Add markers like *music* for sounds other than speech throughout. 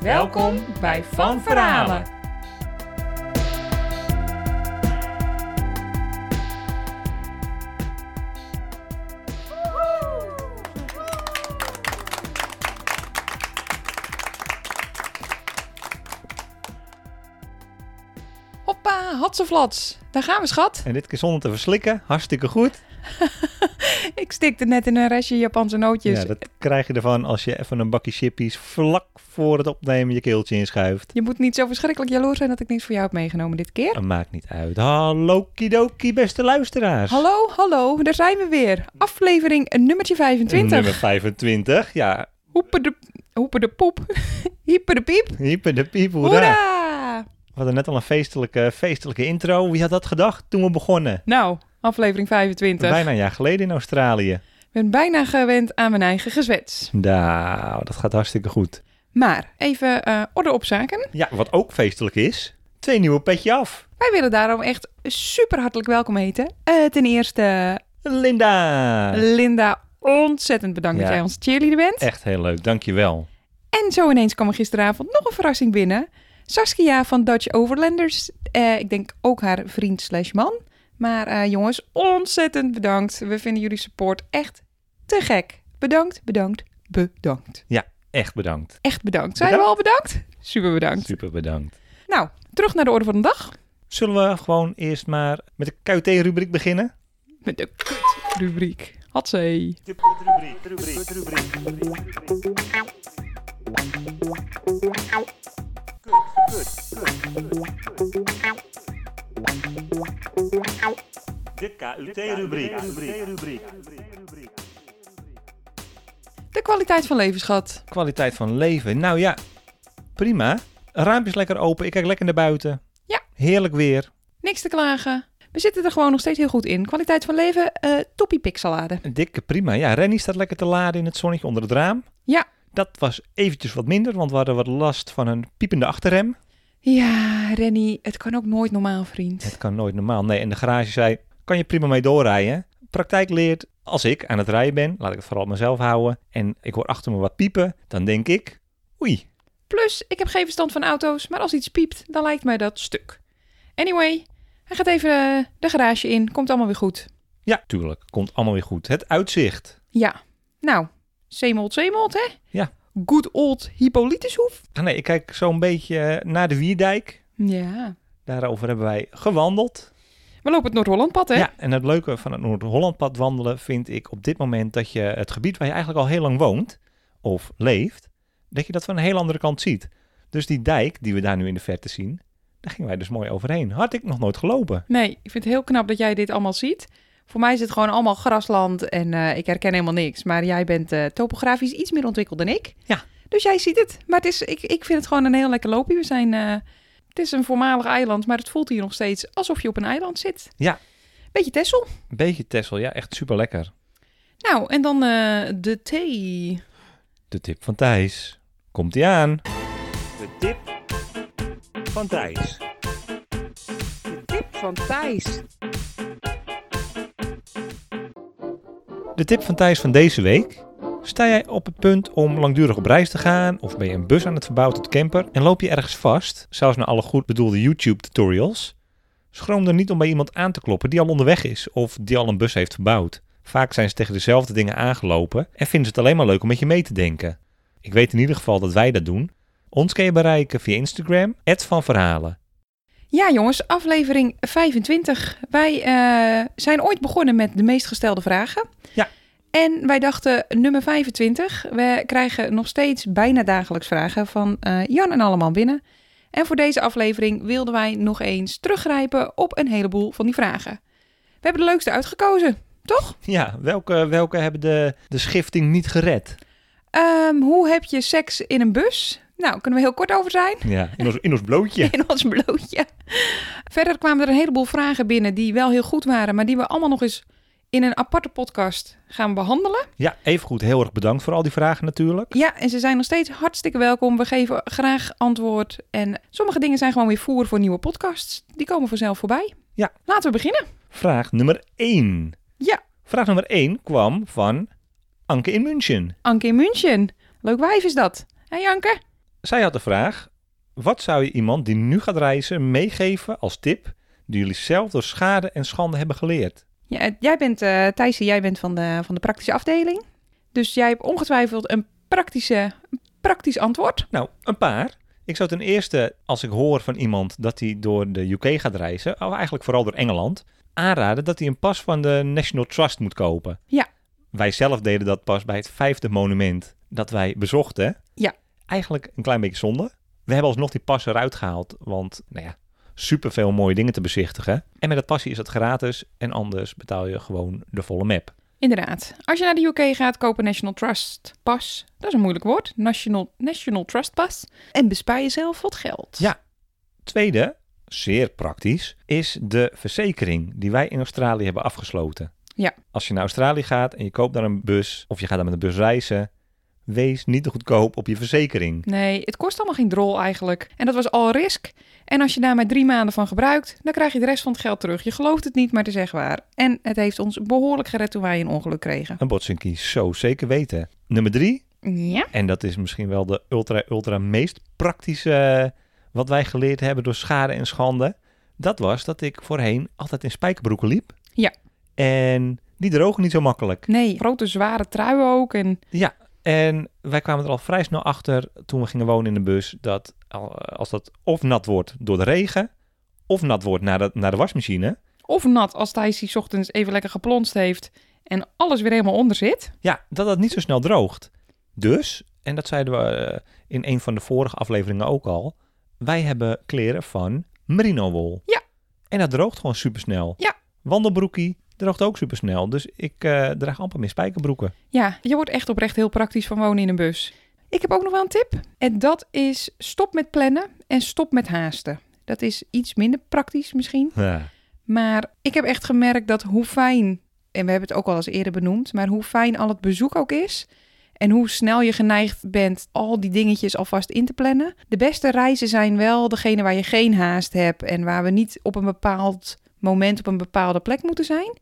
Welkom bij Van Verhalen. Hoppa, hatseflats. Daar gaan we, schat. En dit keer zonder te verslikken, hartstikke goed. Ik stikte net in een restje Japanse nootjes. Ja, dat krijg je ervan als je even een bakje chippies vlak voor het opnemen je keeltje inschuift. Je moet niet zo verschrikkelijk jaloers zijn dat ik niks voor jou heb meegenomen dit keer. Dat maakt niet uit. Hallo kidoki, beste luisteraars. Hallo, hallo, daar zijn we weer. Aflevering nummertje 25. Nummer 25, ja. Hoepen de, hoepen de poep. *laughs* Hyper de piep. Hyper de piep, hoera. Hoera! We hadden net al een feestelijke, feestelijke intro. Wie had dat gedacht toen we begonnen? Nou, aflevering 25. Bijna een jaar geleden in Australië. Ik ben bijna gewend aan mijn eigen gezwets. Nou, dat gaat hartstikke goed. Maar even eh, orde op zaken. Ja, wat ook feestelijk is, twee nieuwe petje af. Wij willen daarom echt super hartelijk welkom heten. Eh, ten eerste Linda! Linda, ontzettend bedankt Ja. dat jij ons cheerleader bent. Echt heel leuk, dankjewel. En zo ineens kwam er gisteravond nog een verrassing binnen. Saskia van Dutch Overlanders. Eh, ik denk ook haar vriend slash man. Maar eh, jongens, ontzettend bedankt. We vinden jullie support echt te gek. Bedankt, bedankt, bedankt. Echt bedankt. Echt bedankt. Zijn Bedankt. we al bedankt? Super bedankt. Super bedankt. Nou, terug naar de orde van de dag. Zullen we gewoon eerst maar met de QT-rubriek beginnen? Met de kutrubriek. Hatsé. De KUT-rubriek. De kwaliteit van leven, schat. Kwaliteit van leven. Nou ja, prima. Raampjes lekker open. Ik kijk lekker naar buiten. Ja. Heerlijk weer. Niks te klagen. We zitten er gewoon nog steeds heel goed in. Kwaliteit van leven, eh toppie piksalade. Een dikke prima. Ja, Rennie staat lekker te laden in het zonnetje onder het raam. Ja. Dat was eventjes wat minder, want we hadden wat last van een piepende achterrem. Ja, Rennie, het kan ook nooit normaal, vriend. Het kan nooit normaal. Nee, en de garage zei, kan je prima mee doorrijden. Praktijk leert, als ik aan het rijden ben, laat ik het vooral op mezelf houden. En ik hoor achter me wat piepen, dan denk ik, oei. Plus, ik heb geen verstand van auto's, maar als iets piept, dan lijkt mij dat stuk. Anyway, hij gaat even eh, de garage in. Komt allemaal weer goed. Ja, tuurlijk, komt allemaal weer goed. Het uitzicht. Ja. Nou, zeemold, zeemold, hè? Ja. Good old Hippolytushoef. Ah nee, ik kijk zo'n beetje eh, naar de Wierdijk. Ja. Daarover hebben wij gewandeld. We lopen het Noord-Hollandpad, hè? Ja, en het leuke van het Noord-Hollandpad wandelen vind ik op dit moment dat je het gebied waar je eigenlijk al heel lang woont of leeft, dat je dat van een heel andere kant ziet. Dus die dijk die we daar nu in de verte zien, daar gingen wij dus mooi overheen. Had ik nog nooit gelopen. Nee, ik vind het heel knap dat jij dit allemaal ziet. Voor mij is het gewoon allemaal grasland en eh, ik herken helemaal niks. Maar jij bent eh, topografisch iets meer ontwikkeld dan ik. Ja. Dus jij ziet het. Maar het is, ik, ik vind het gewoon een heel lekker loopje. We zijn, eh, het is een voormalig eiland, maar het voelt hier nog steeds alsof je op een eiland zit. Ja. Beetje Tessel. Beetje Tessel, ja, echt super lekker. Nou, en dan eh, de thee. De tip van Thijs. Komt ie aan. De tip van Thijs. De tip van Thijs. De tip van Thijs van deze week. Sta jij op het punt om langdurig op reis te gaan of ben je een bus aan het verbouwen tot camper en loop je ergens vast, zelfs na alle goed bedoelde YouTube tutorials? Schroom er niet om bij iemand aan te kloppen die al onderweg is of die al een bus heeft verbouwd. Vaak zijn ze tegen dezelfde dingen aangelopen en vinden ze het alleen maar leuk om met je mee te denken. Ik weet in ieder geval dat wij dat doen. Ons kun je bereiken via Instagram, van verhalen. Ja, jongens, aflevering 25. Wij eh, zijn ooit begonnen met de meest gestelde vragen. Ja. En wij dachten nummer 25. We krijgen nog steeds bijna dagelijks vragen van eh, Jan en allemaal binnen. En voor deze aflevering wilden wij nog eens teruggrijpen op een heleboel van die vragen. We hebben de leukste uitgekozen, toch? Ja, welke, welke hebben de, de schifting niet gered? Ehm, hoe heb je seks in een bus? Nou, kunnen we heel kort over zijn. Ja, in ons, in ons blootje. *laughs* in ons blootje. Verder kwamen er een heleboel vragen binnen die wel heel goed waren, maar die we allemaal nog eens in een aparte podcast gaan behandelen. Ja, even goed. Heel erg bedankt voor al die vragen natuurlijk. Ja, en ze zijn nog steeds hartstikke welkom. We geven graag antwoord. En sommige dingen zijn gewoon weer voer voor nieuwe podcasts. Die komen vanzelf voorbij. Ja. Laten we beginnen. Vraag nummer 1. Ja. Vraag nummer 1 kwam van Anke in München. Anke in München. Leuk wijf is dat. Hé Anke? Zij had de vraag: wat zou je iemand die nu gaat reizen meegeven als tip die jullie zelf door schade en schande hebben geleerd? Ja, eh, jij bent, eh Thijsie, jij bent van de, van de praktische afdeling. Dus jij hebt ongetwijfeld een, praktische, een praktisch antwoord. Nou, een paar. Ik zou ten eerste, als ik hoor van iemand dat hij door de UK gaat reizen, of eigenlijk vooral door Engeland, aanraden dat hij een pas van de National Trust moet kopen. Ja. Wij zelf deden dat pas bij het vijfde monument dat wij bezochten. Ja. Eigenlijk een klein beetje zonde. We hebben alsnog die pas eruit gehaald, want nou ja, superveel mooie dingen te bezichtigen. En met dat pasje is dat gratis en anders betaal je gewoon de volle map. Inderdaad. Als je naar de UK gaat, koop een National Trust pas. Dat is een moeilijk woord. National, National Trust pas. En bespaar jezelf wat geld. Ja. Tweede, zeer praktisch, is de verzekering die wij in Australië hebben afgesloten. Ja. Als je naar Australië gaat en je koopt daar een bus of je gaat daar met een bus reizen, wees niet te goedkoop op je verzekering. Nee, het kost allemaal geen drol eigenlijk. En dat was al risk. En als je daar maar drie maanden van gebruikt, dan krijg je de rest van het geld terug. Je gelooft het niet, maar het is echt waar. En het heeft ons behoorlijk gered toen wij een ongeluk kregen. Een botsinkie, zo zeker weten. Nummer drie, Ja? en dat is misschien wel de ultra, ultra meest praktische eh, wat wij geleerd hebben door schade en schande. Dat was dat ik voorheen altijd in spijkerbroeken liep. Ja. En die drogen niet zo makkelijk. Nee, grote zware trui ook. En En wij kwamen er al vrij snel achter toen we gingen wonen in de bus dat al- eh, als dat of nat wordt door de regen, of nat wordt naar de, naar de wasmachine. of nat als Thijs die 's ochtends even lekker geplonst heeft en alles weer helemaal onder zit. Ja, dat dat niet zo snel droogt. Dus, en dat zeiden we eh, in een van de vorige afleveringen ook al, wij hebben kleren van merino wol. Ja. En dat droogt gewoon supersnel. Ja. Wandelbroekie droogt ook supersnel. Dus ik eh, draag amper meer spijkerbroeken. Ja, je wordt echt oprecht heel praktisch van wonen in een bus. Ik heb ook nog wel een tip. En dat is stop met plannen en stop met haasten. Dat is iets minder praktisch misschien. Ja. Maar ik heb echt gemerkt dat hoe fijn, en we hebben het ook al eens eerder benoemd, maar hoe fijn al het bezoek ook is. En hoe snel je geneigd bent al die dingetjes alvast in te plannen. De beste reizen zijn wel degene waar je geen haast hebt en waar we niet op een bepaald moment op een bepaalde plek moeten zijn.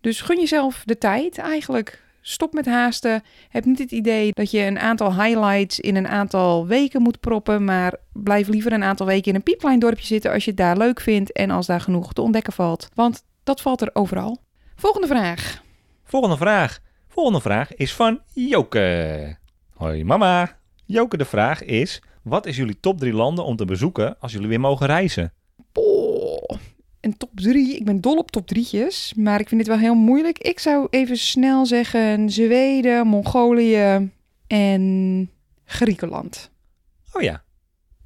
Dus gun jezelf de tijd eigenlijk. Stop met haasten. Heb niet het idee dat je een aantal highlights in een aantal weken moet proppen. Maar blijf liever een aantal weken in een piepklein dorpje zitten als je het daar leuk vindt en als daar genoeg te ontdekken valt. Want dat valt er overal. Volgende vraag. Volgende vraag. Volgende vraag is van Joke. Hoi mama. Joke, de vraag is: wat is jullie top drie landen om te bezoeken als jullie weer mogen reizen? Poh, een top 3. Ik ben dol op top drietjes, maar ik vind dit wel heel moeilijk. Ik zou even snel zeggen Zweden, Mongolië en Griekenland. Oh ja.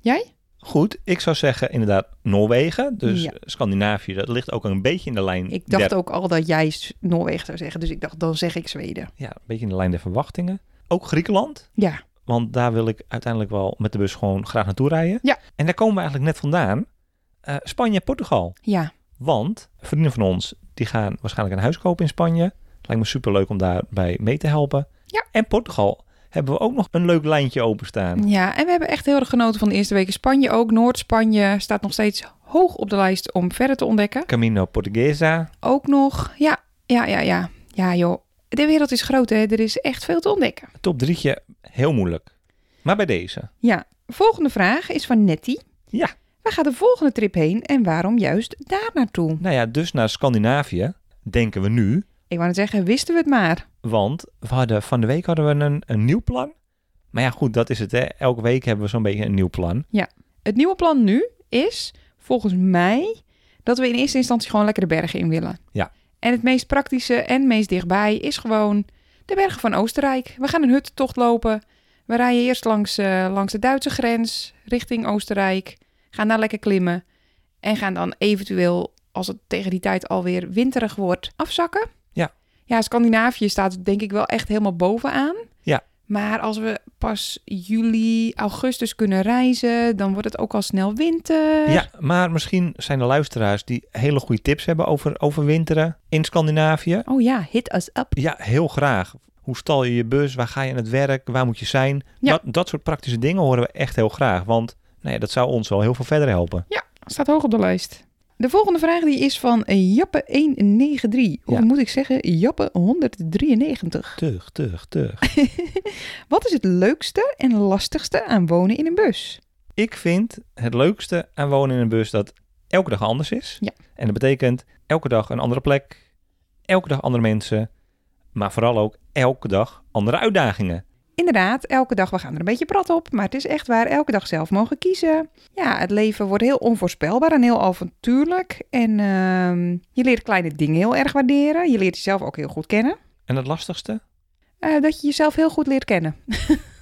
Jij? Goed, ik zou zeggen inderdaad Noorwegen. Dus Ja. Scandinavië, dat ligt ook een beetje in de lijn. Ik dacht der, ook al dat jij S- Noorwegen zou zeggen, dus ik dacht dan zeg ik Zweden. Ja, een beetje in de lijn der verwachtingen. Ook Griekenland, Ja, want daar wil ik uiteindelijk wel met de bus gewoon graag naartoe rijden. Ja. En daar komen we eigenlijk net vandaan. Eh, Spanje en Portugal. ja, Want vrienden van ons, die gaan waarschijnlijk een huis kopen in Spanje. Lijkt me superleuk om daarbij mee te helpen. Ja. En Portugal hebben we ook nog een leuk lijntje openstaan. ja. En we hebben echt heel erg genoten van de eerste weken Spanje ook. Noord-Spanje staat nog steeds hoog op de lijst om verder te ontdekken. Camino Portuguesa. ook nog. Ja, ja, ja, ja. Ja, joh. De wereld is groot, hè. Er is echt veel te ontdekken. Top drietje, heel moeilijk. Maar bij deze. Ja, volgende vraag is van Nettie. Ja. Waar gaat de volgende trip heen en waarom juist daar naartoe? Nou ja, dus naar Scandinavië denken we nu. Ik wou net zeggen, wisten we het maar. Want we hadden, van de week hadden we een, een nieuw plan. Maar ja, goed, dat is het. Hè. Elke week hebben we zo'n beetje een nieuw plan. Het nieuwe plan nu is, volgens mij, dat we in eerste instantie gewoon lekker de bergen in willen. Ja. En het meest praktische en meest dichtbij is gewoon de bergen van Oostenrijk. We gaan een huttentocht lopen. We rijden eerst langs, eh, langs de Duitse grens richting Oostenrijk. Gaan daar lekker klimmen. En gaan dan eventueel, als het tegen die tijd alweer winterig wordt, afzakken. Ja. Ja, Scandinavië staat denk ik wel echt helemaal bovenaan. Ja. Maar als we pas juli, augustus kunnen reizen, dan wordt het ook al snel winter. Ja, maar misschien zijn er luisteraars die hele goede tips hebben over overwinteren in Scandinavië. Oh ja, hit us up. Ja, heel graag. Hoe stal je je bus? Waar ga je aan het werk? Waar moet je zijn? Ja. Dat, dat soort praktische dingen horen we echt heel graag. Want nou ja, dat zou ons wel heel veel verder helpen. Staat hoog op de lijst. De volgende vraag die is van eh, Jappe193. Hoe Ja. moet ik zeggen? Jappe193. Tug, tug, tug. Wat is het leukste en lastigste aan wonen in een bus? Ik vind het leukste aan wonen in een bus dat elke dag anders is. Ja. En dat betekent elke dag een andere plek, elke dag andere mensen, maar vooral ook elke dag andere uitdagingen. Inderdaad, elke dag, we gaan er een beetje prat op, maar het is echt waar, elke dag zelf mogen kiezen. Ja, het leven wordt heel onvoorspelbaar en heel avontuurlijk. En ehm, je leert kleine dingen heel erg waarderen. Je leert jezelf ook heel goed kennen. En het lastigste? Eh, dat je jezelf heel goed leert kennen.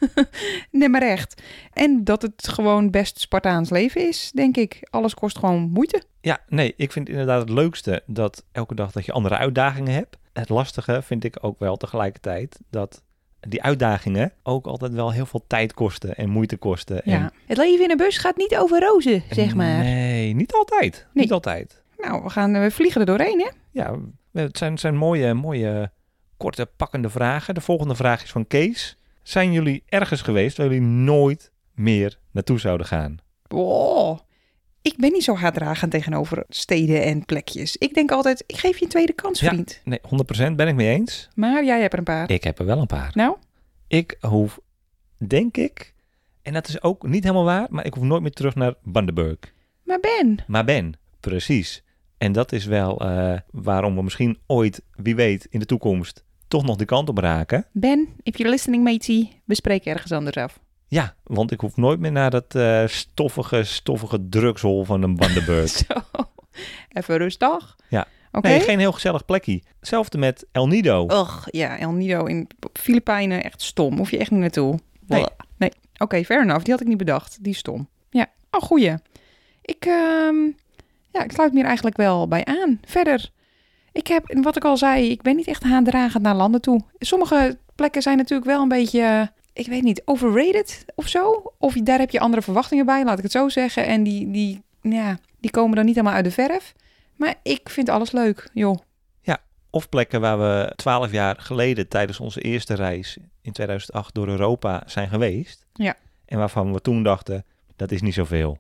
*laughs* nee, maar echt. En dat het gewoon best Spartaans leven is, denk ik. Alles kost gewoon moeite. Ja, nee, ik vind inderdaad het leukste dat elke dag dat je andere uitdagingen hebt. Het lastige vind ik ook wel tegelijkertijd dat die uitdagingen ook altijd wel heel veel tijd kosten en moeite kosten. Ja. En, Het leven in een bus gaat niet over rozen, zeg maar. Nee, niet altijd. Nee. Niet altijd. Nou, we, gaan, we vliegen er doorheen, hè? Ja, we- het zijn, het zijn mooie, mooie, korte, pakkende vragen. De volgende vraag is van Kees. Zijn jullie ergens geweest waar jullie nooit meer naartoe zouden gaan? Oh. Ik ben niet zo haatdragend tegenover steden en plekjes. Ik denk altijd, ik geef je een tweede kans, Ja. vriend. Nee, 100% ben ik mee eens. Maar jij hebt er een paar. Ik heb er wel een paar. Ah. Nou? Ik hoef, denk ik, en dat is ook niet helemaal waar, maar ik hoef nooit meer terug naar Bandenburg. Maar Ben, Maar Ben, precies. En dat is wel eh, waarom we misschien ooit, wie weet, in de toekomst toch nog die kant op raken. Ben, if you're listening, matey, we spreken ergens anders af. *laughs* Ja, want ik hoef nooit meer naar dat eh, stoffige, stoffige drugshol van een Bandenburg. Zo, even rustig. Ja. *laughs* Oké. Nee, geen heel gezellig plekje. Hetzelfde met El Nido. Och, ja, El Nido in op Filipijnen, echt stom. Hoef je echt niet naartoe. Nee. nee. Oké, fair enough. Die had ik niet bedacht. Die is stom. Ja. Oh, goeie. Ik, ehm, ja, ik sluit me hier eigenlijk wel bij aan. Verder, ik heb, en wat ik al zei, ik ben niet echt haandragend naar landen toe. Sommige plekken zijn natuurlijk wel een beetje, eh, ik weet niet, overrated of zo. Of je- daar heb je andere verwachtingen bij, laat ik het zo zeggen. En die, die, ja, die komen dan niet helemaal uit de verf. Maar ik vind alles leuk, joh. Of plekken waar we twaalf jaar geleden tijdens onze eerste reis in 2008 door Europa zijn geweest. Ja. En waarvan we toen dachten, dat is niet zoveel.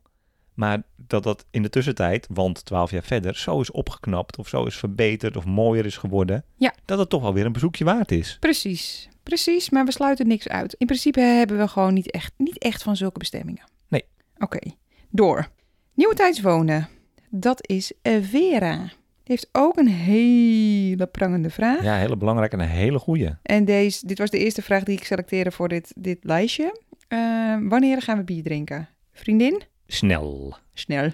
Maar dat dat in de tussentijd, want twaalf jaar verder, zo is opgeknapt of zo is verbeterd of mooier is geworden. Ja. Dat het toch wel weer een bezoekje waard is. Precies, precies, maar we sluiten niks uit. In principe hebben we gewoon niet echt, niet echt van zulke bestemmingen. Nee. Oké, door. Nieuwe tijds wonen. Dat is eh, Vera. Die heeft ook een hele prangende vraag. Ja, hele belangrijke en een hele goeie. En deze, dit was de eerste vraag die ik selecteerde voor dit, dit lijstje. Eh, wanneer gaan we bier drinken? Vriendin? Snel. Snel.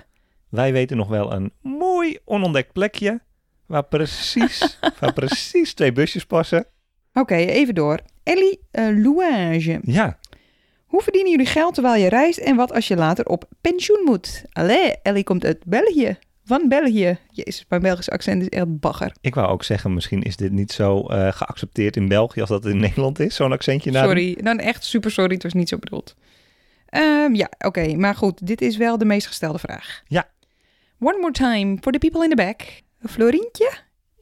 Wij weten nog wel een mooi onontdekt plekje waar *laughs* precies, waar precies twee busjes passen. Oké, even door. Ellie eh, Louage. Ja, Hoe verdienen jullie geld terwijl je reist en wat als je later op pensioen moet? Allee, Ellie komt uit België. Van België. Jezus, mijn Belgisch accent is echt bagger. ik wou ook zeggen, misschien is dit niet zo eh, geaccepteerd in België als dat in *laughs* Nederland is. Zo'n accentje naar. Sorry, dan echt super sorry, het was niet zo bedoeld. Ehm, ja, oké, maar goed, dit is wel de meest gestelde vraag. Ja. One more time for the people in the back. Florientje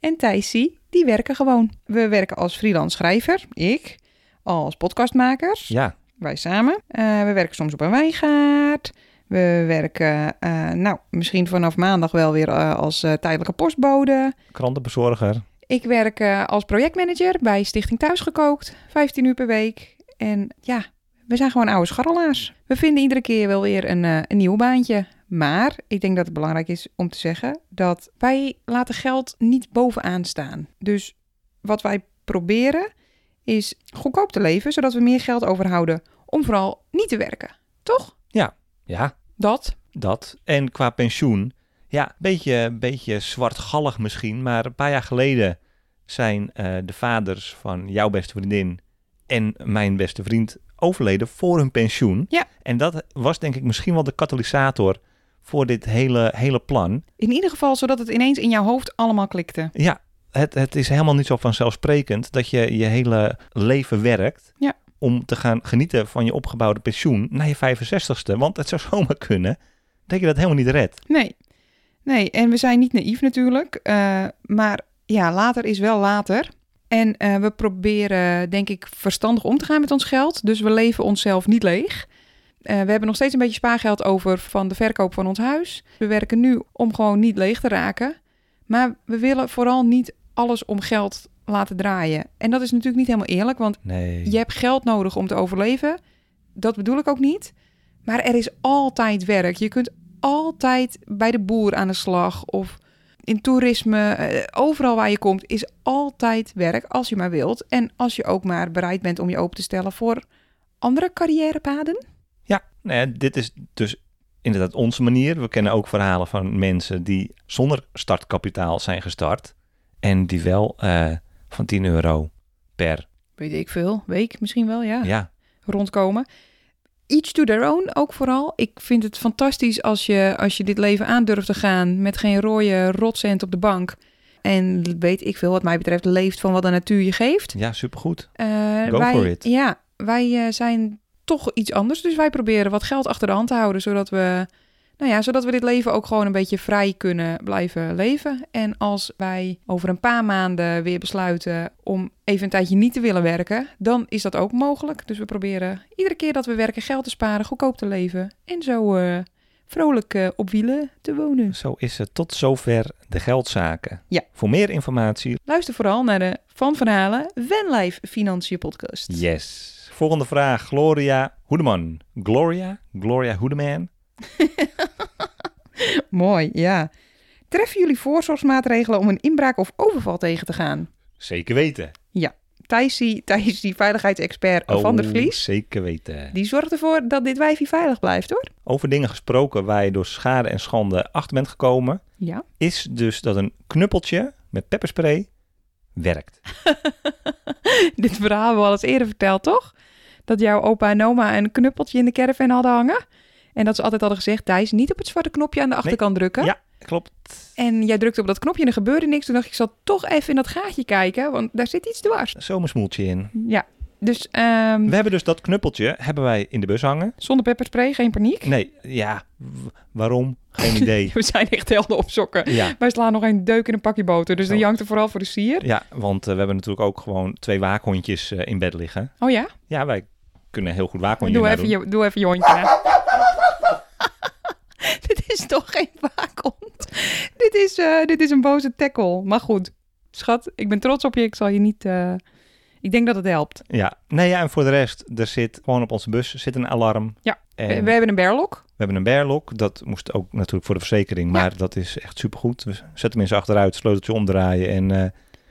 en Thijsie, die werken gewoon. We werken als freelance schrijver, ik, als podcastmaker. Ja, Wij samen. Eh, we werken soms op een wijngaard. We werken, eh, nou, misschien vanaf maandag wel weer eh, als eh, tijdelijke postbode. krantenbezorger. Ik werk eh, als projectmanager bij Stichting Thuisgekookt, 15 uur per week. En ja, we zijn gewoon oude scharrelaars. We vinden iedere keer wel weer een, eh, een nieuw baantje. Maar ik denk dat het belangrijk is om te zeggen dat wij laten geld niet bovenaan staan. Dus wat wij proberen is goedkoop te leven, zodat we meer geld overhouden om vooral niet te werken. Toch? Ja, Dat? Dat. En qua pensioen, ja, beetje, beetje zwartgallig misschien, maar een paar jaar geleden zijn eh, de vaders van jouw beste vriendin en mijn beste vriend overleden voor hun pensioen. Ja. En dat was denk ik misschien wel de katalysator voor dit hele, hele plan. In ieder geval zodat het ineens in jouw hoofd allemaal klikte. Ja, het, het is helemaal niet zo vanzelfsprekend dat je je hele leven werkt. Ja. om te gaan genieten van je opgebouwde pensioen na je 65ste. Want het zou *laughs* zomaar kunnen dat je dat helemaal niet redt. Nee. Nee, en we zijn niet naïef natuurlijk. eh, maar ja, later is wel later. En eh, we proberen, denk ik, verstandig om te gaan met ons geld. Dus we leven onszelf niet leeg. Eh, we hebben nog steeds een beetje spaargeld over van de verkoop van ons huis. We werken nu om gewoon niet leeg te raken. Maar we willen vooral niet alles om geld laten draaien. En dat is natuurlijk niet helemaal eerlijk, want Nee. je hebt geld nodig om te overleven. Dat bedoel ik ook niet. Maar er is altijd werk. Je kunt altijd bij de boer aan de slag of in toerisme. eh, Overal waar je komt is altijd werk als je maar wilt. En als je ook maar bereid bent om je open te stellen voor andere carrièrepaden. Ja, nou ja, dit is dus inderdaad onze manier. We kennen ook verhalen van mensen die zonder startkapitaal zijn gestart. En die wel eh, van 10 euro per Weet ik veel, week misschien wel, ja. ja, rondkomen. Each to their own ook vooral. Ik vind het fantastisch als je, als je dit leven aandurft te gaan met geen rode rotcent op de bank. En weet ik veel, wat mij betreft, leeft van wat de natuur je geeft. ja, supergoed. Eh, Go wij, for it. Ja, wij eh, zijn toch iets anders. Dus wij proberen wat geld achter de hand te houden, zodat we, nou ja, zodat we dit leven ook gewoon een beetje vrij kunnen blijven leven. En als wij over een paar maanden weer besluiten om even een tijdje niet te willen werken, dan is dat ook mogelijk. Dus we proberen iedere keer dat we werken geld te sparen, goedkoop te leven en zo eh, vrolijk eh, op wielen te wonen. Zo is het tot zover de geldzaken. Ja. Voor meer informatie, Luister vooral naar de Van Verhalen Wenlijf Financiën Podcast. yes. Volgende vraag, Gloria Hoedeman. Gloria? Gloria Hoedeman? Mooi, ja. Treffen jullie voorzorgsmaatregelen om een inbraak of overval tegen te gaan? Zeker weten. Thijsie, Thijs, die veiligheidsexpert Oh. van der Vlies, Zeker weten. die zorgt ervoor dat dit wijfje veilig blijft, hoor. Over dingen gesproken waar je door schade en schande achter bent gekomen. Ja. is dus dat een knuppeltje met pepperspray werkt. *laughs* dit verhaal hebben we al eens eerder verteld, toch? Dat jouw opa en oma een knuppeltje in de caravan hadden hangen. En dat ze altijd hadden gezegd, Thijs, niet op het zwarte knopje aan de achterkant drukken. Ja, klopt. En jij drukte op dat knopje en er gebeurde niks. Toen dacht ik, ik zal toch even in dat gaatje kijken, want daar zit iets dwars. Zomersmoeltje in. Ja, dus ehm, We hebben dus dat knuppeltje hebben wij in de bus hangen. zonder pepperspray, geen paniek. *laughs* Nee, ja, w- waarom? Geen idee. We zijn echt helden op sokken. Ja, Wij slaan nog een deuk in een pakje boter. Dus Zo. die jankt er vooral voor de sier. ja want eh, we hebben natuurlijk ook gewoon twee waakhondjes eh, in bed liggen. Oh ja? Ja, wij kunnen heel goed waakhondjes Doe even, nadoen. je, doe even je hondje na. *laughs* dit is toch geen waakhond? Dit is, eh, dit is een boze tackle. Maar goed. Schat, ik ben trots op je. Ik zal je niet... eh, Ik denk dat het helpt. Ja. Nee, ja, en voor de rest, er zit gewoon op onze bus zit een alarm. Ja. En We, we we hebben een berlok. hebben een bearlock. Dat moest ook natuurlijk voor de verzekering. Maar dat is echt supergoed. We zetten mensen achteruit, sleuteltje omdraaien en... eh,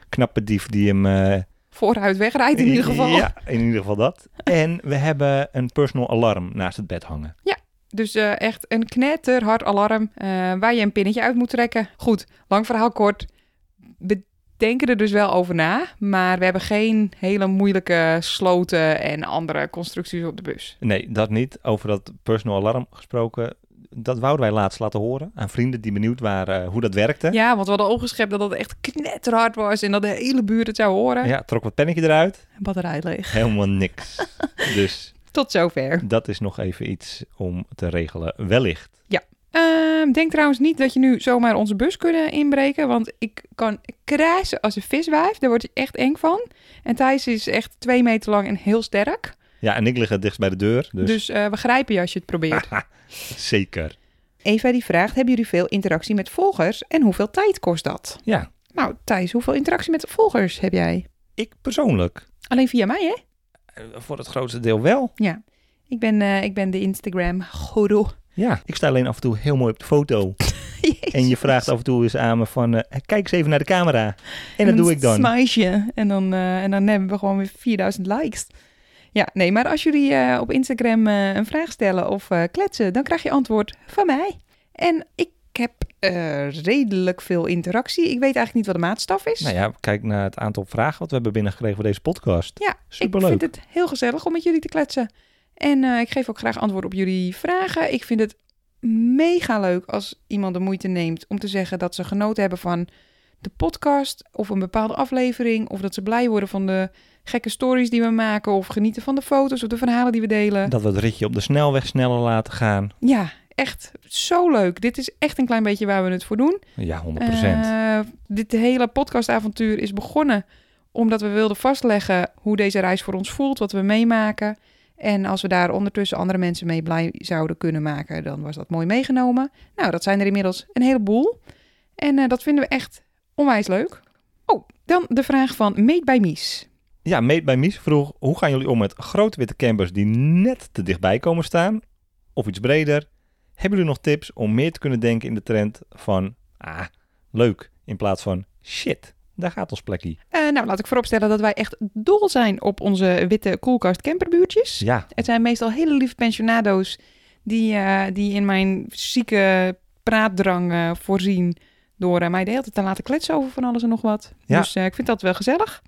knappe dief die hem eh, Vooruit wegrijdt *laughs* in ieder geval. Ja, in ieder geval dat. En we hebben een personal alarm naast het bed hangen. Dus eh, echt een knetterhard alarm eh, waar je een pinnetje uit moet trekken. Goed, lang verhaal kort. We denken er dus wel over na, maar we hebben geen hele moeilijke sloten en andere constructies op de bus. Nee, dat niet. Over dat personal alarm gesproken. Dat wouden wij laatst laten horen aan vrienden die benieuwd waren eh, hoe dat werkte. Ja, want we hadden opgeschept dat het echt knetterhard was en dat de hele buurt het zou horen. Ja, trok wat pennetje eruit. Batterij leeg. Helemaal niks. *laughs* dus Tot zover. dat is nog even iets om te regelen. Wellicht. Ehm, denk trouwens niet dat je nu zomaar onze bus kunnen inbreken. Want ik kan krijsen als een viswijf. Daar word je echt eng van. En Thijs is echt twee meter lang en heel sterk. Ja, en ik lig het dichtst bij de deur. Dus, Dus, eh, we grijpen je als je het *laughs* probeert. Dus- zeker. Eva die vraagt, hebben jullie veel interactie met volgers en hoeveel tijd kost dat? Ja, Nou Thijs, hoeveel interactie met volgers heb jij? ik persoonlijk. Alleen via mij hè? eh, Voor het grootste deel wel. Ja, ik ben, eh, ik ben de Instagram guru. *laughs* Ja, ik sta alleen af en toe heel mooi op de foto. En je vraagt af en toe eens aan me van, eh, kijk eens even naar de camera. En, dat doe ik dan. Smash je en dan, eh, en dan hebben we gewoon weer 4000 likes. Ja, nee, maar als jullie eh, op Instagram eh, een vraag stellen of eh, kletsen, dan krijg je antwoord van mij. En ik heb eh, redelijk veel interactie. Ik weet eigenlijk niet wat de maatstaf is. Nou ja, kijk naar het aantal vragen wat we hebben binnengekregen voor deze podcast. Ja, Superleuk. Ik vind het heel gezellig om met jullie te kletsen. En eh, ik geef ook graag antwoord op jullie vragen. Ik vind het mega leuk als iemand de moeite neemt om te zeggen dat ze genoten hebben van de podcast of een bepaalde aflevering. Of dat ze blij worden van de gekke stories die we maken of genieten van de foto's of de verhalen die we delen. Dat we het ritje op de snelweg sneller laten gaan. Ja, echt zo leuk. Dit is echt een klein beetje waar we het voor doen. Ja, 100%. Eh, dit hele podcastavontuur is begonnen omdat we wilden vastleggen hoe deze reis voor ons voelt, wat we meemaken. En als we daar ondertussen andere mensen mee blij zouden kunnen maken, dan was dat mooi meegenomen. Nou, dat zijn er inmiddels een heleboel. En eh, dat vinden we echt onwijs leuk. Oh, dan de vraag van Meet bij Mies. Ja, Meet bij Mies vroeg, hoe gaan jullie om met grote witte campers die net te dichtbij komen staan? Of iets breder? Hebben jullie nog tips om meer te kunnen denken in de trend van, ah, leuk, in plaats van, shit, daar gaat ons plekje. Eh, nou, laat ik vooropstellen dat wij echt dol zijn op onze witte koelkast camperbuurtjes. Dus Ja, Het zijn meestal hele lieve pensionado's die, eh, die in mijn zieke praatdrang eh, voorzien door eh, mij de hele tijd te laten kletsen over van alles en nog wat. Ja. Dus eh, ik vind dat wel gezellig.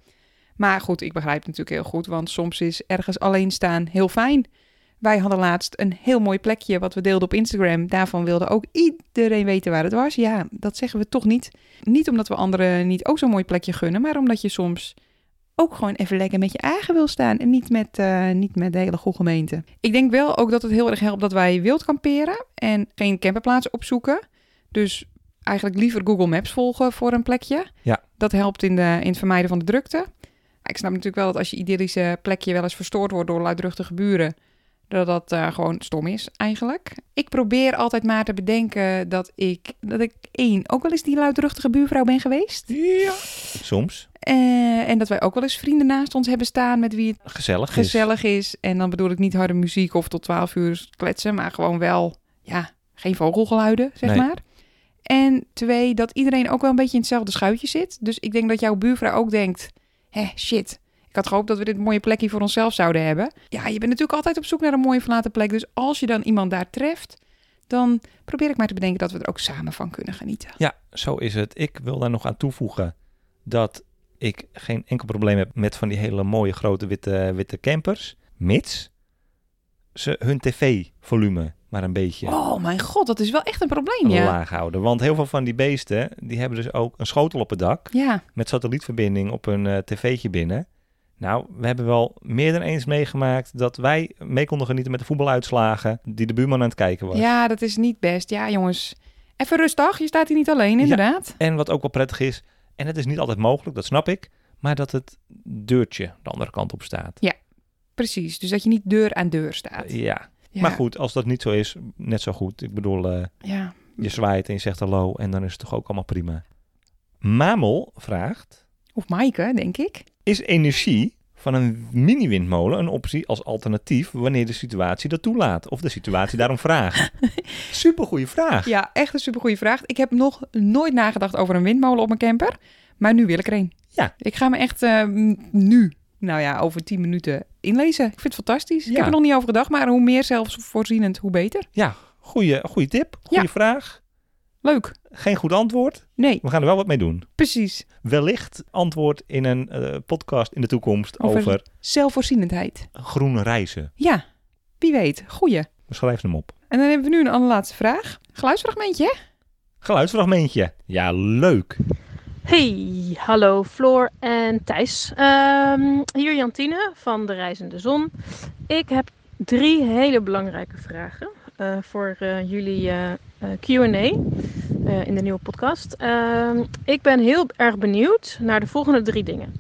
Maar goed, ik begrijp het natuurlijk heel goed, want soms is ergens alleen staan heel fijn. Wij hadden laatst een heel mooi plekje wat we deelden op Instagram. Daarvan wilde ook iedereen weten waar het was. Ja, dat zeggen we toch niet. Niet omdat we anderen niet ook zo'n mooi plekje gunnen, maar omdat je soms ook gewoon even lekker met je eigen wil staan en niet met, eh, niet met de hele goede gemeente. Ik denk wel ook dat het heel erg helpt dat wij wild kamperen en geen camperplaats opzoeken. Dus eigenlijk liever Google Maps volgen voor een plekje. Ja. Dat helpt in, de, in het vermijden van de drukte. Ik snap natuurlijk wel dat als je idyllische plekje wel eens verstoord wordt door luidruchtige buren, dat dat eh, gewoon stom is eigenlijk. Ik probeer altijd maar te bedenken dat ik, dat ik één, ook wel eens die luidruchtige buurvrouw ben geweest. soms. Eh, en dat wij ook wel eens vrienden naast ons hebben staan met wie het Gezellig is. gezellig is. En dan bedoel ik niet harde muziek of tot 12 uur kletsen, maar gewoon wel, ja, geen vogelgeluiden, zeg Nee. maar. En twee, dat iedereen ook wel een beetje in hetzelfde schuitje zit. Dus ik denk dat jouw buurvrouw ook denkt, hè, shit. Ik had gehoopt dat we dit mooie plekje voor onszelf zouden hebben. Ja, je bent natuurlijk altijd op zoek naar een mooie verlaten plek. Dus als je dan iemand daar treft, dan probeer ik maar te bedenken dat we er ook samen van kunnen genieten. Ja, zo is het. Ik wil daar nog aan toevoegen dat ik geen enkel probleem heb met van die hele mooie grote witte, witte campers. Mits ze hun tv-volume maar een beetje Oh mijn god, dat is wel echt een probleem, ja. laag houden. Want heel veel van die beesten, die hebben dus ook een schotel op het dak Ja, met satellietverbinding op een eh, tv'tje binnen. Nou, we hebben wel meer dan eens meegemaakt dat wij mee konden genieten met de voetbaluitslagen die de buurman aan het kijken was. ja, dat is niet best. Ja, jongens. Even rustig, je staat hier niet alleen, inderdaad. En wat ook wel prettig is, en het is niet altijd mogelijk, dat snap ik, maar dat het deurtje de andere kant op staat. Precies, dus dat je niet deur aan deur staat. Ja. Ja, maar goed, als dat niet zo is, net zo goed. Ik bedoel, eh, Ja. je zwaait en je zegt hallo en dan is het toch ook allemaal prima. Mamel vraagt, Of Maaike, denk ik. is energie van een mini-windmolen een optie als alternatief wanneer de situatie dat toelaat? Of de situatie daarom *laughs* vraagt? Supergoeie vraag. Ja, echt een supergoeie vraag. Ik heb nog nooit nagedacht over een windmolen op mijn camper. Maar nu wil ik er een. Ja. Ik ga me echt eh, m- nu, nou ja, over 10 minuten inlezen. Ik vind het fantastisch. Ik Ja. heb er nog niet over gedacht, maar hoe meer zelfvoorzienend, hoe beter. Ja, goede goede tip, goede Ja. vraag. Leuk. Geen goed antwoord. Nee, We gaan er wel wat mee doen. precies. wellicht antwoord in een eh, podcast in de toekomst Over- over, Zelfvoorzienendheid. groene reizen. Ja, wie weet. Goeie. Schrijf hem op. En dan hebben we nu een allerlaatste vraag. Geluidsfragmentje, hè? Geluidsfragmentje. Ja, leuk. Hey, hallo Floor en Thijs. Ehm, hier Jantine van De Reizende Zon. Ik heb drie hele belangrijke vragen eh, voor eh, jullie eh, eh, Q&A eh, in de nieuwe podcast. Ehm, ik ben heel erg benieuwd naar de volgende drie dingen.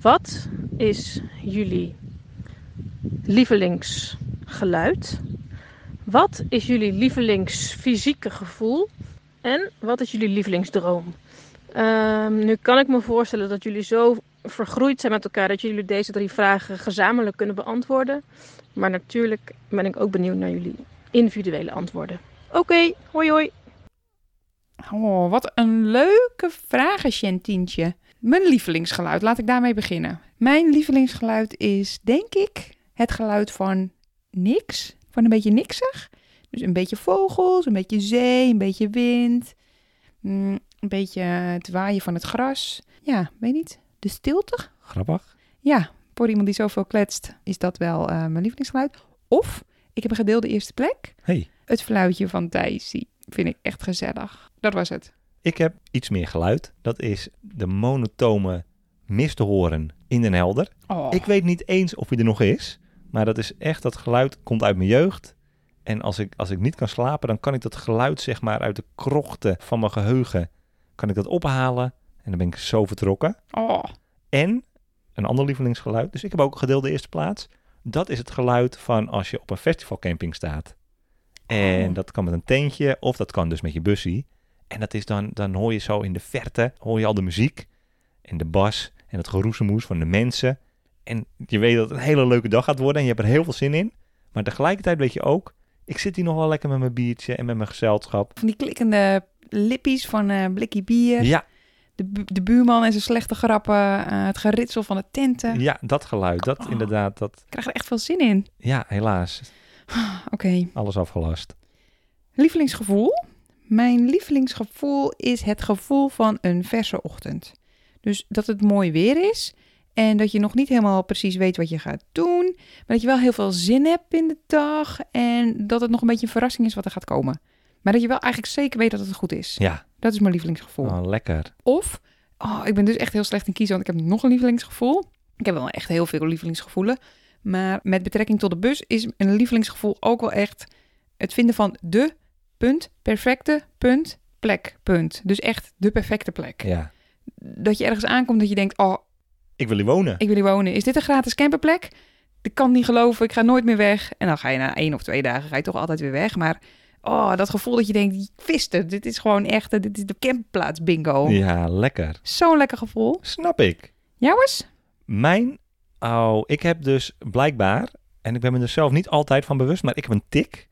Wat is jullie lievelingsgeluid? Wat is jullie lievelingsfysieke gevoel? En wat is jullie lievelingsdroom? Ehm, nu kan ik me voorstellen dat jullie zo vergroeid zijn met elkaar dat jullie deze drie vragen gezamenlijk kunnen beantwoorden. Maar natuurlijk ben ik ook benieuwd naar jullie individuele antwoorden. Oké, hoi hoi. Oh, wat een leuke vragen, Chantientje. Mijn lievelingsgeluid, laat ik daarmee beginnen. Mijn lievelingsgeluid is, denk ik, het geluid van niks. Van een beetje niksig. Dus een beetje vogels, een beetje zee, een beetje wind. mm, een beetje het waaien van het gras. Ja, weet niet. De stilte. Grappig. Ja, voor iemand die zoveel kletst, is dat wel eh, mijn lievelingsgeluid. Of, ik heb een gedeelde eerste plek. Hey, Het fluitje van Thijs, die vind ik echt gezellig. Dat was het. ik heb iets meer geluid. Dat is de monotone mist horen in Den Helder. Oh. Ik weet niet eens of hij er nog is. Maar dat is echt, dat geluid komt uit mijn jeugd. En als ik, als ik niet kan slapen, dan kan ik dat geluid zeg maar uit de krochten van mijn geheugen... kan ik dat ophalen en dan ben ik zo vertrokken. oh. En een ander lievelingsgeluid, dus ik heb ook gedeelde eerste plaats. Dat is het geluid van als je op een festivalcamping staat. En Oh. dat kan met een tentje of dat kan dus met je bussie. En dat is dan, dan hoor je zo in de verte, hoor je al de muziek en de bas en het geroezemoes van de mensen. En je weet dat het een hele leuke dag gaat worden en je hebt er heel veel zin in. Maar tegelijkertijd weet je ook, ik zit hier nog wel lekker met mijn biertje en met mijn gezelschap. Van die klikkende lippies van eh blikkie bier. Ja, De, bu- de buurman en zijn slechte grappen. eh, het geritsel van de tenten. ja, dat geluid, dat Oh. inderdaad, dat, Ik krijg er echt veel zin in. Ah, ja, helaas, Oké. alles afgelast. Lievelingsgevoel? Mijn lievelingsgevoel is het gevoel van een verse ochtend. Dus dat het mooi weer is en dat je nog niet helemaal precies weet wat je gaat doen, maar dat je wel heel veel zin hebt in de dag en dat het nog een beetje een verrassing is wat er gaat komen. Maar dat je wel eigenlijk zeker weet dat het goed is. Ja, Dat is mijn lievelingsgevoel. oh, lekker. Of, oh, ik ben dus echt heel slecht in kiezen, want ik heb nog een lievelingsgevoel. Ik heb wel echt heel veel lievelingsgevoelen. Maar met betrekking tot de bus is een lievelingsgevoel ook wel echt het vinden van de punt, perfecte punt, plek, punt. Dus echt de perfecte plek. Ja. Dat je ergens aankomt dat je denkt, oh, Ik wil hier wonen. ik wil hier wonen. Is dit een gratis camperplek? Ik kan het niet geloven, ik ga nooit meer weg. En dan ga je na één of twee dagen ga je toch altijd weer weg. Maar oh, dat gevoel dat je denkt, visten, dit is gewoon echt, eh, dit is de campplaats bingo. Ja, lekker. Zo'n lekker gevoel. Snap ik. Jouwens? Mijn, oh, ik heb dus blijkbaar, en ik ben me er zelf niet altijd van bewust, maar ik heb een tik.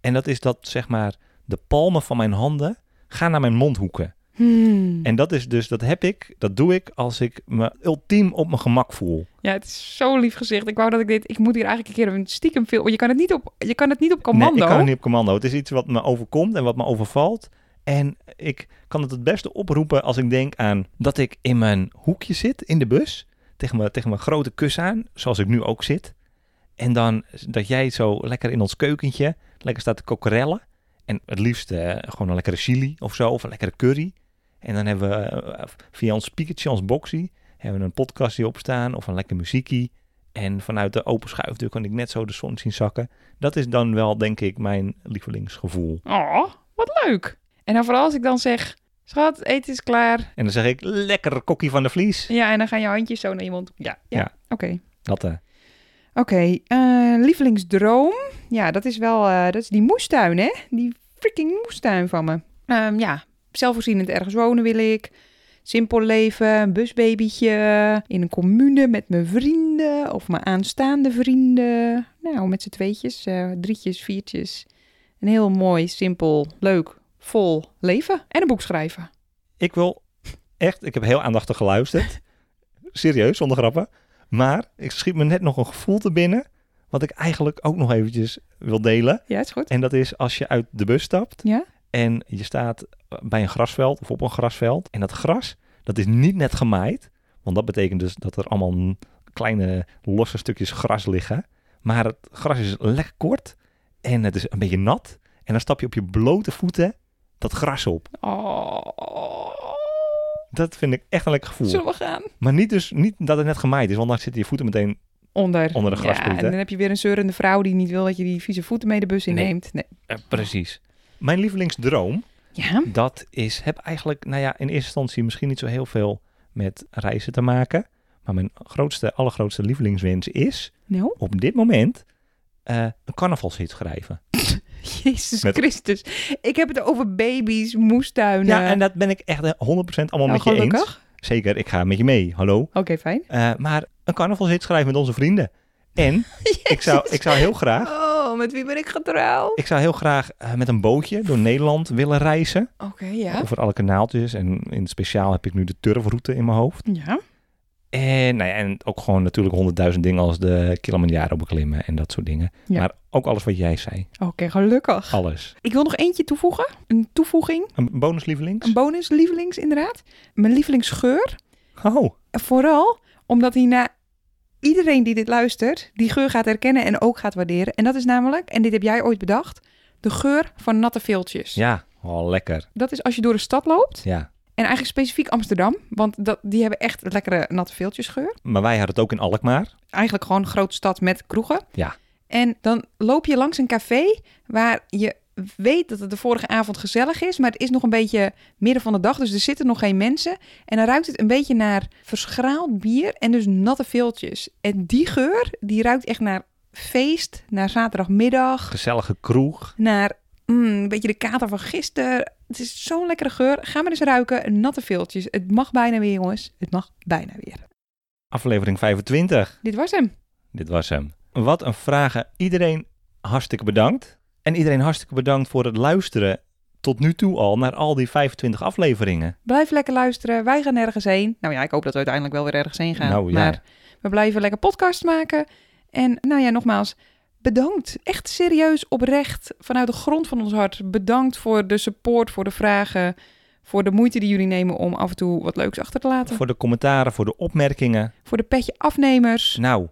En dat is dat, zeg maar, de palmen van mijn handen gaan naar mijn mondhoeken. Hmm. En dat is dus, dat heb ik, dat doe ik als ik me ultiem op mijn gemak voel. Ja, het is zo lief gezegd. Ik wou dat ik dit... Ik moet hier eigenlijk een keer een stiekem film... Je kan het niet op, je kan het niet op commando. Nee, ik kan het niet op commando. Het is iets wat me overkomt en wat me overvalt. En ik kan het het beste oproepen als ik denk aan dat ik in mijn hoekje zit in de bus. Tegen mijn, tegen mijn grote kus aan, zoals ik nu ook zit. En dan dat jij zo lekker in ons keukentje lekker staat te kokerellen. En het liefst eh, gewoon een lekkere chili of zo, of een lekkere curry. En dan hebben we eh, via ons speakertje, ons boxie, hebben we een podcastje opstaan of een lekker muziekie. En vanuit de open schuifdeur kan ik net zo de zon zien zakken. Dat is dan wel, denk ik, mijn lievelingsgevoel. Oh, wat leuk. En dan vooral als ik dan zeg... Schat, eten is klaar. En dan zeg ik, lekker kokkie van de vlies. Ja, en dan gaan je handjes zo naar iemand. Ja, ja. Ja. Oké. Dat, eh, Oké, eh, lievelingsdroom. Ja, dat is wel... eh, dat is die moestuin, hè? Die freaking moestuin van me. Ehm, ja, zelfvoorzienend ergens wonen wil ik. Simpel leven, een busbabytje. In een commune met mijn vrienden of mijn aanstaande vrienden. Nou, met z'n tweetjes, eh, drietjes, viertjes. Een heel mooi, simpel, leuk, vol leven. En een boek schrijven. ik wil echt, ik heb heel aandachtig geluisterd. Serieus, zonder grappen. Maar ik schiet me net nog een gevoel te binnen, wat ik eigenlijk ook nog eventjes wil delen. Ja, is goed. En dat is als je uit de bus stapt Ja? en je staat bij een grasveld of op een grasveld. En dat gras, dat is niet net gemaaid. Want dat betekent dus dat er allemaal n- kleine losse stukjes gras liggen. Maar het gras is lekker kort en het is een beetje nat. En dan stap je op je blote voeten dat gras op. Oh. Dat vind ik echt een lekker gevoel. Zullen we gaan? Maar niet, dus, niet dat het net gemaaid is, want dan zitten je voeten meteen... Onder. Onder de Ja, graspriet, hè? en dan heb je weer een zeurende vrouw die niet wil dat je die vieze voeten mee de bus inneemt. Nee. precies. Mijn lievelingsdroom Ja? dat is, heb eigenlijk, nou ja, in eerste instantie misschien niet zo heel veel met reizen te maken. Maar mijn grootste, allergrootste lievelingswens is Nou? *laughs* op dit moment eh, een carnavalshit schrijven. Jezus Met- Christus. Ik heb het over baby's, moestuinen. Ja, en dat ben ik echt eh, 100% allemaal Nou, met je gelukkig. eens. Zeker, ik ga met je mee, hallo. Oké, fijn. Eh, maar een carnavalshit schrijven met onze vrienden. *laughs* En *laughs* ik zou, ik zou heel graag, Oh, met wie ben ik getrouwd? ik zou heel graag eh, met een bootje door Nederland willen reizen. Oké, ja. Over alle kanaaltjes. En in het speciaal heb ik nu de turfroute in mijn hoofd. Ja. En, nou ja, en ook gewoon natuurlijk honderdduizend dingen als de Kilimanjaro beklimmen en dat soort dingen. Ja. Maar ook alles wat jij zei. Oké, gelukkig. Alles. Ik wil nog eentje toevoegen. Een toevoeging. Een bonuslievelings? Een bonus, lievelings inderdaad. Mijn lievelingsgeur. oh, Vooral omdat hij na iedereen die dit luistert, die geur gaat herkennen en ook gaat waarderen. En dat is namelijk, en dit heb jij ooit bedacht, de geur van natte viltjes. ja. Oh, lekker. Dat is als je door de stad loopt Ja. En eigenlijk specifiek Amsterdam, want dat, die hebben echt lekkere natte veeltjesgeur. Maar wij hadden het ook in Alkmaar. Eigenlijk gewoon een grote stad met kroegen. Ja. En dan loop je langs een café waar je weet dat het de vorige avond gezellig is, maar het is nog een beetje midden van de dag, dus er zitten nog geen mensen. En dan ruikt het een beetje naar verschraald bier en dus natte viltjes. En die geur, die ruikt echt naar feest, naar zaterdagmiddag, Gezellige kroeg. naar mm, een beetje de kater van gisteren. Het is zo'n lekkere geur. Ga maar eens ruiken, natte viltjes. Het mag bijna weer, jongens. Het mag bijna weer. Aflevering 25. Dit was hem. Dit was hem. Wat een vragen. Iedereen hartstikke bedankt. En iedereen hartstikke bedankt voor het luisteren tot nu toe al naar al die 25 afleveringen. Blijf lekker luisteren. Wij gaan ergens heen. Nou ja, ik hoop dat we uiteindelijk wel weer ergens heen gaan. Nou, ja. Maar we blijven lekker podcast maken. En nou ja, nogmaals, bedankt. Echt serieus, oprecht, vanuit de grond van ons hart. Bedankt voor de support, voor de vragen, voor de moeite die jullie nemen om af en toe wat leuks achter te laten. Voor, Voor de commentaren, voor de opmerkingen. de petje afnemers. Nou,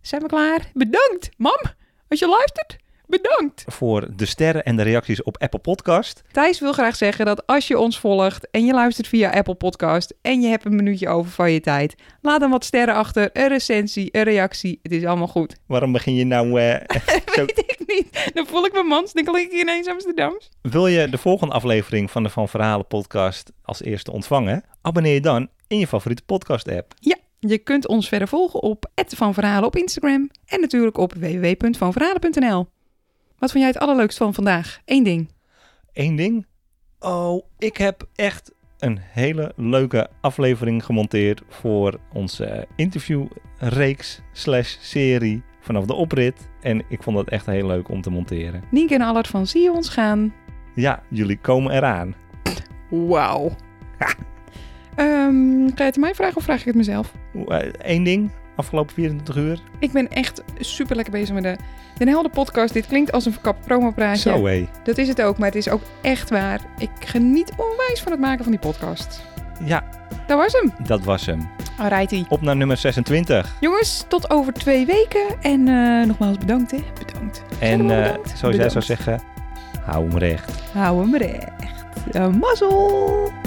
Zijn we klaar? Bedankt, mam, als je luistert. Bedankt. voor de sterren en de reacties op Apple Podcast. Thijs wil graag zeggen dat als je ons volgt en je luistert via Apple Podcast en je hebt een minuutje over van je tijd, laat dan wat sterren achter, een recensie, een reactie. Het is allemaal goed. *laughs* Waarom begin je nou... eh, Weet ik niet. Dan voel ik mijn mans, dan klink ik ineens Amsterdams. Wil je de volgende aflevering van de Van Verhalen podcast als eerste ontvangen? Abonneer je dan in je favoriete podcast app. Je kunt ons verder volgen op Van Verhalen op Instagram en natuurlijk op www.vanverhalen.nl. Wat vond jij het allerleukst van vandaag? Eén ding. Eén ding. Oh, ik heb echt een hele leuke aflevering gemonteerd voor onze eh, interviewreeks slash serie vanaf de oprit. En ik vond het echt heel leuk om te monteren. Nienke en Allard van Zie je ons gaan. Ja, jullie komen eraan. Wauw. Ehm, ga je het mij vragen of vraag ik het mezelf? Eén eh, ding, afgelopen 24 uur. Ik ben echt super lekker bezig met de Den Helden podcast. Dit klinkt als een verkapt promopraatje. Zo hé. Dat is het ook, maar het is ook echt waar. Ik geniet onwijs van het maken van die podcast. Ja, Dat was hem. dat was hem. Alrighty. Op naar nummer 26. Jongens, tot over twee weken. En eh, nogmaals bedankt, hè. Bedankt. En Zeg maar eh, bedankt. zoals jij zou Bedankt. zeggen, hou hem recht. Hou hem recht. Eh, mazzel.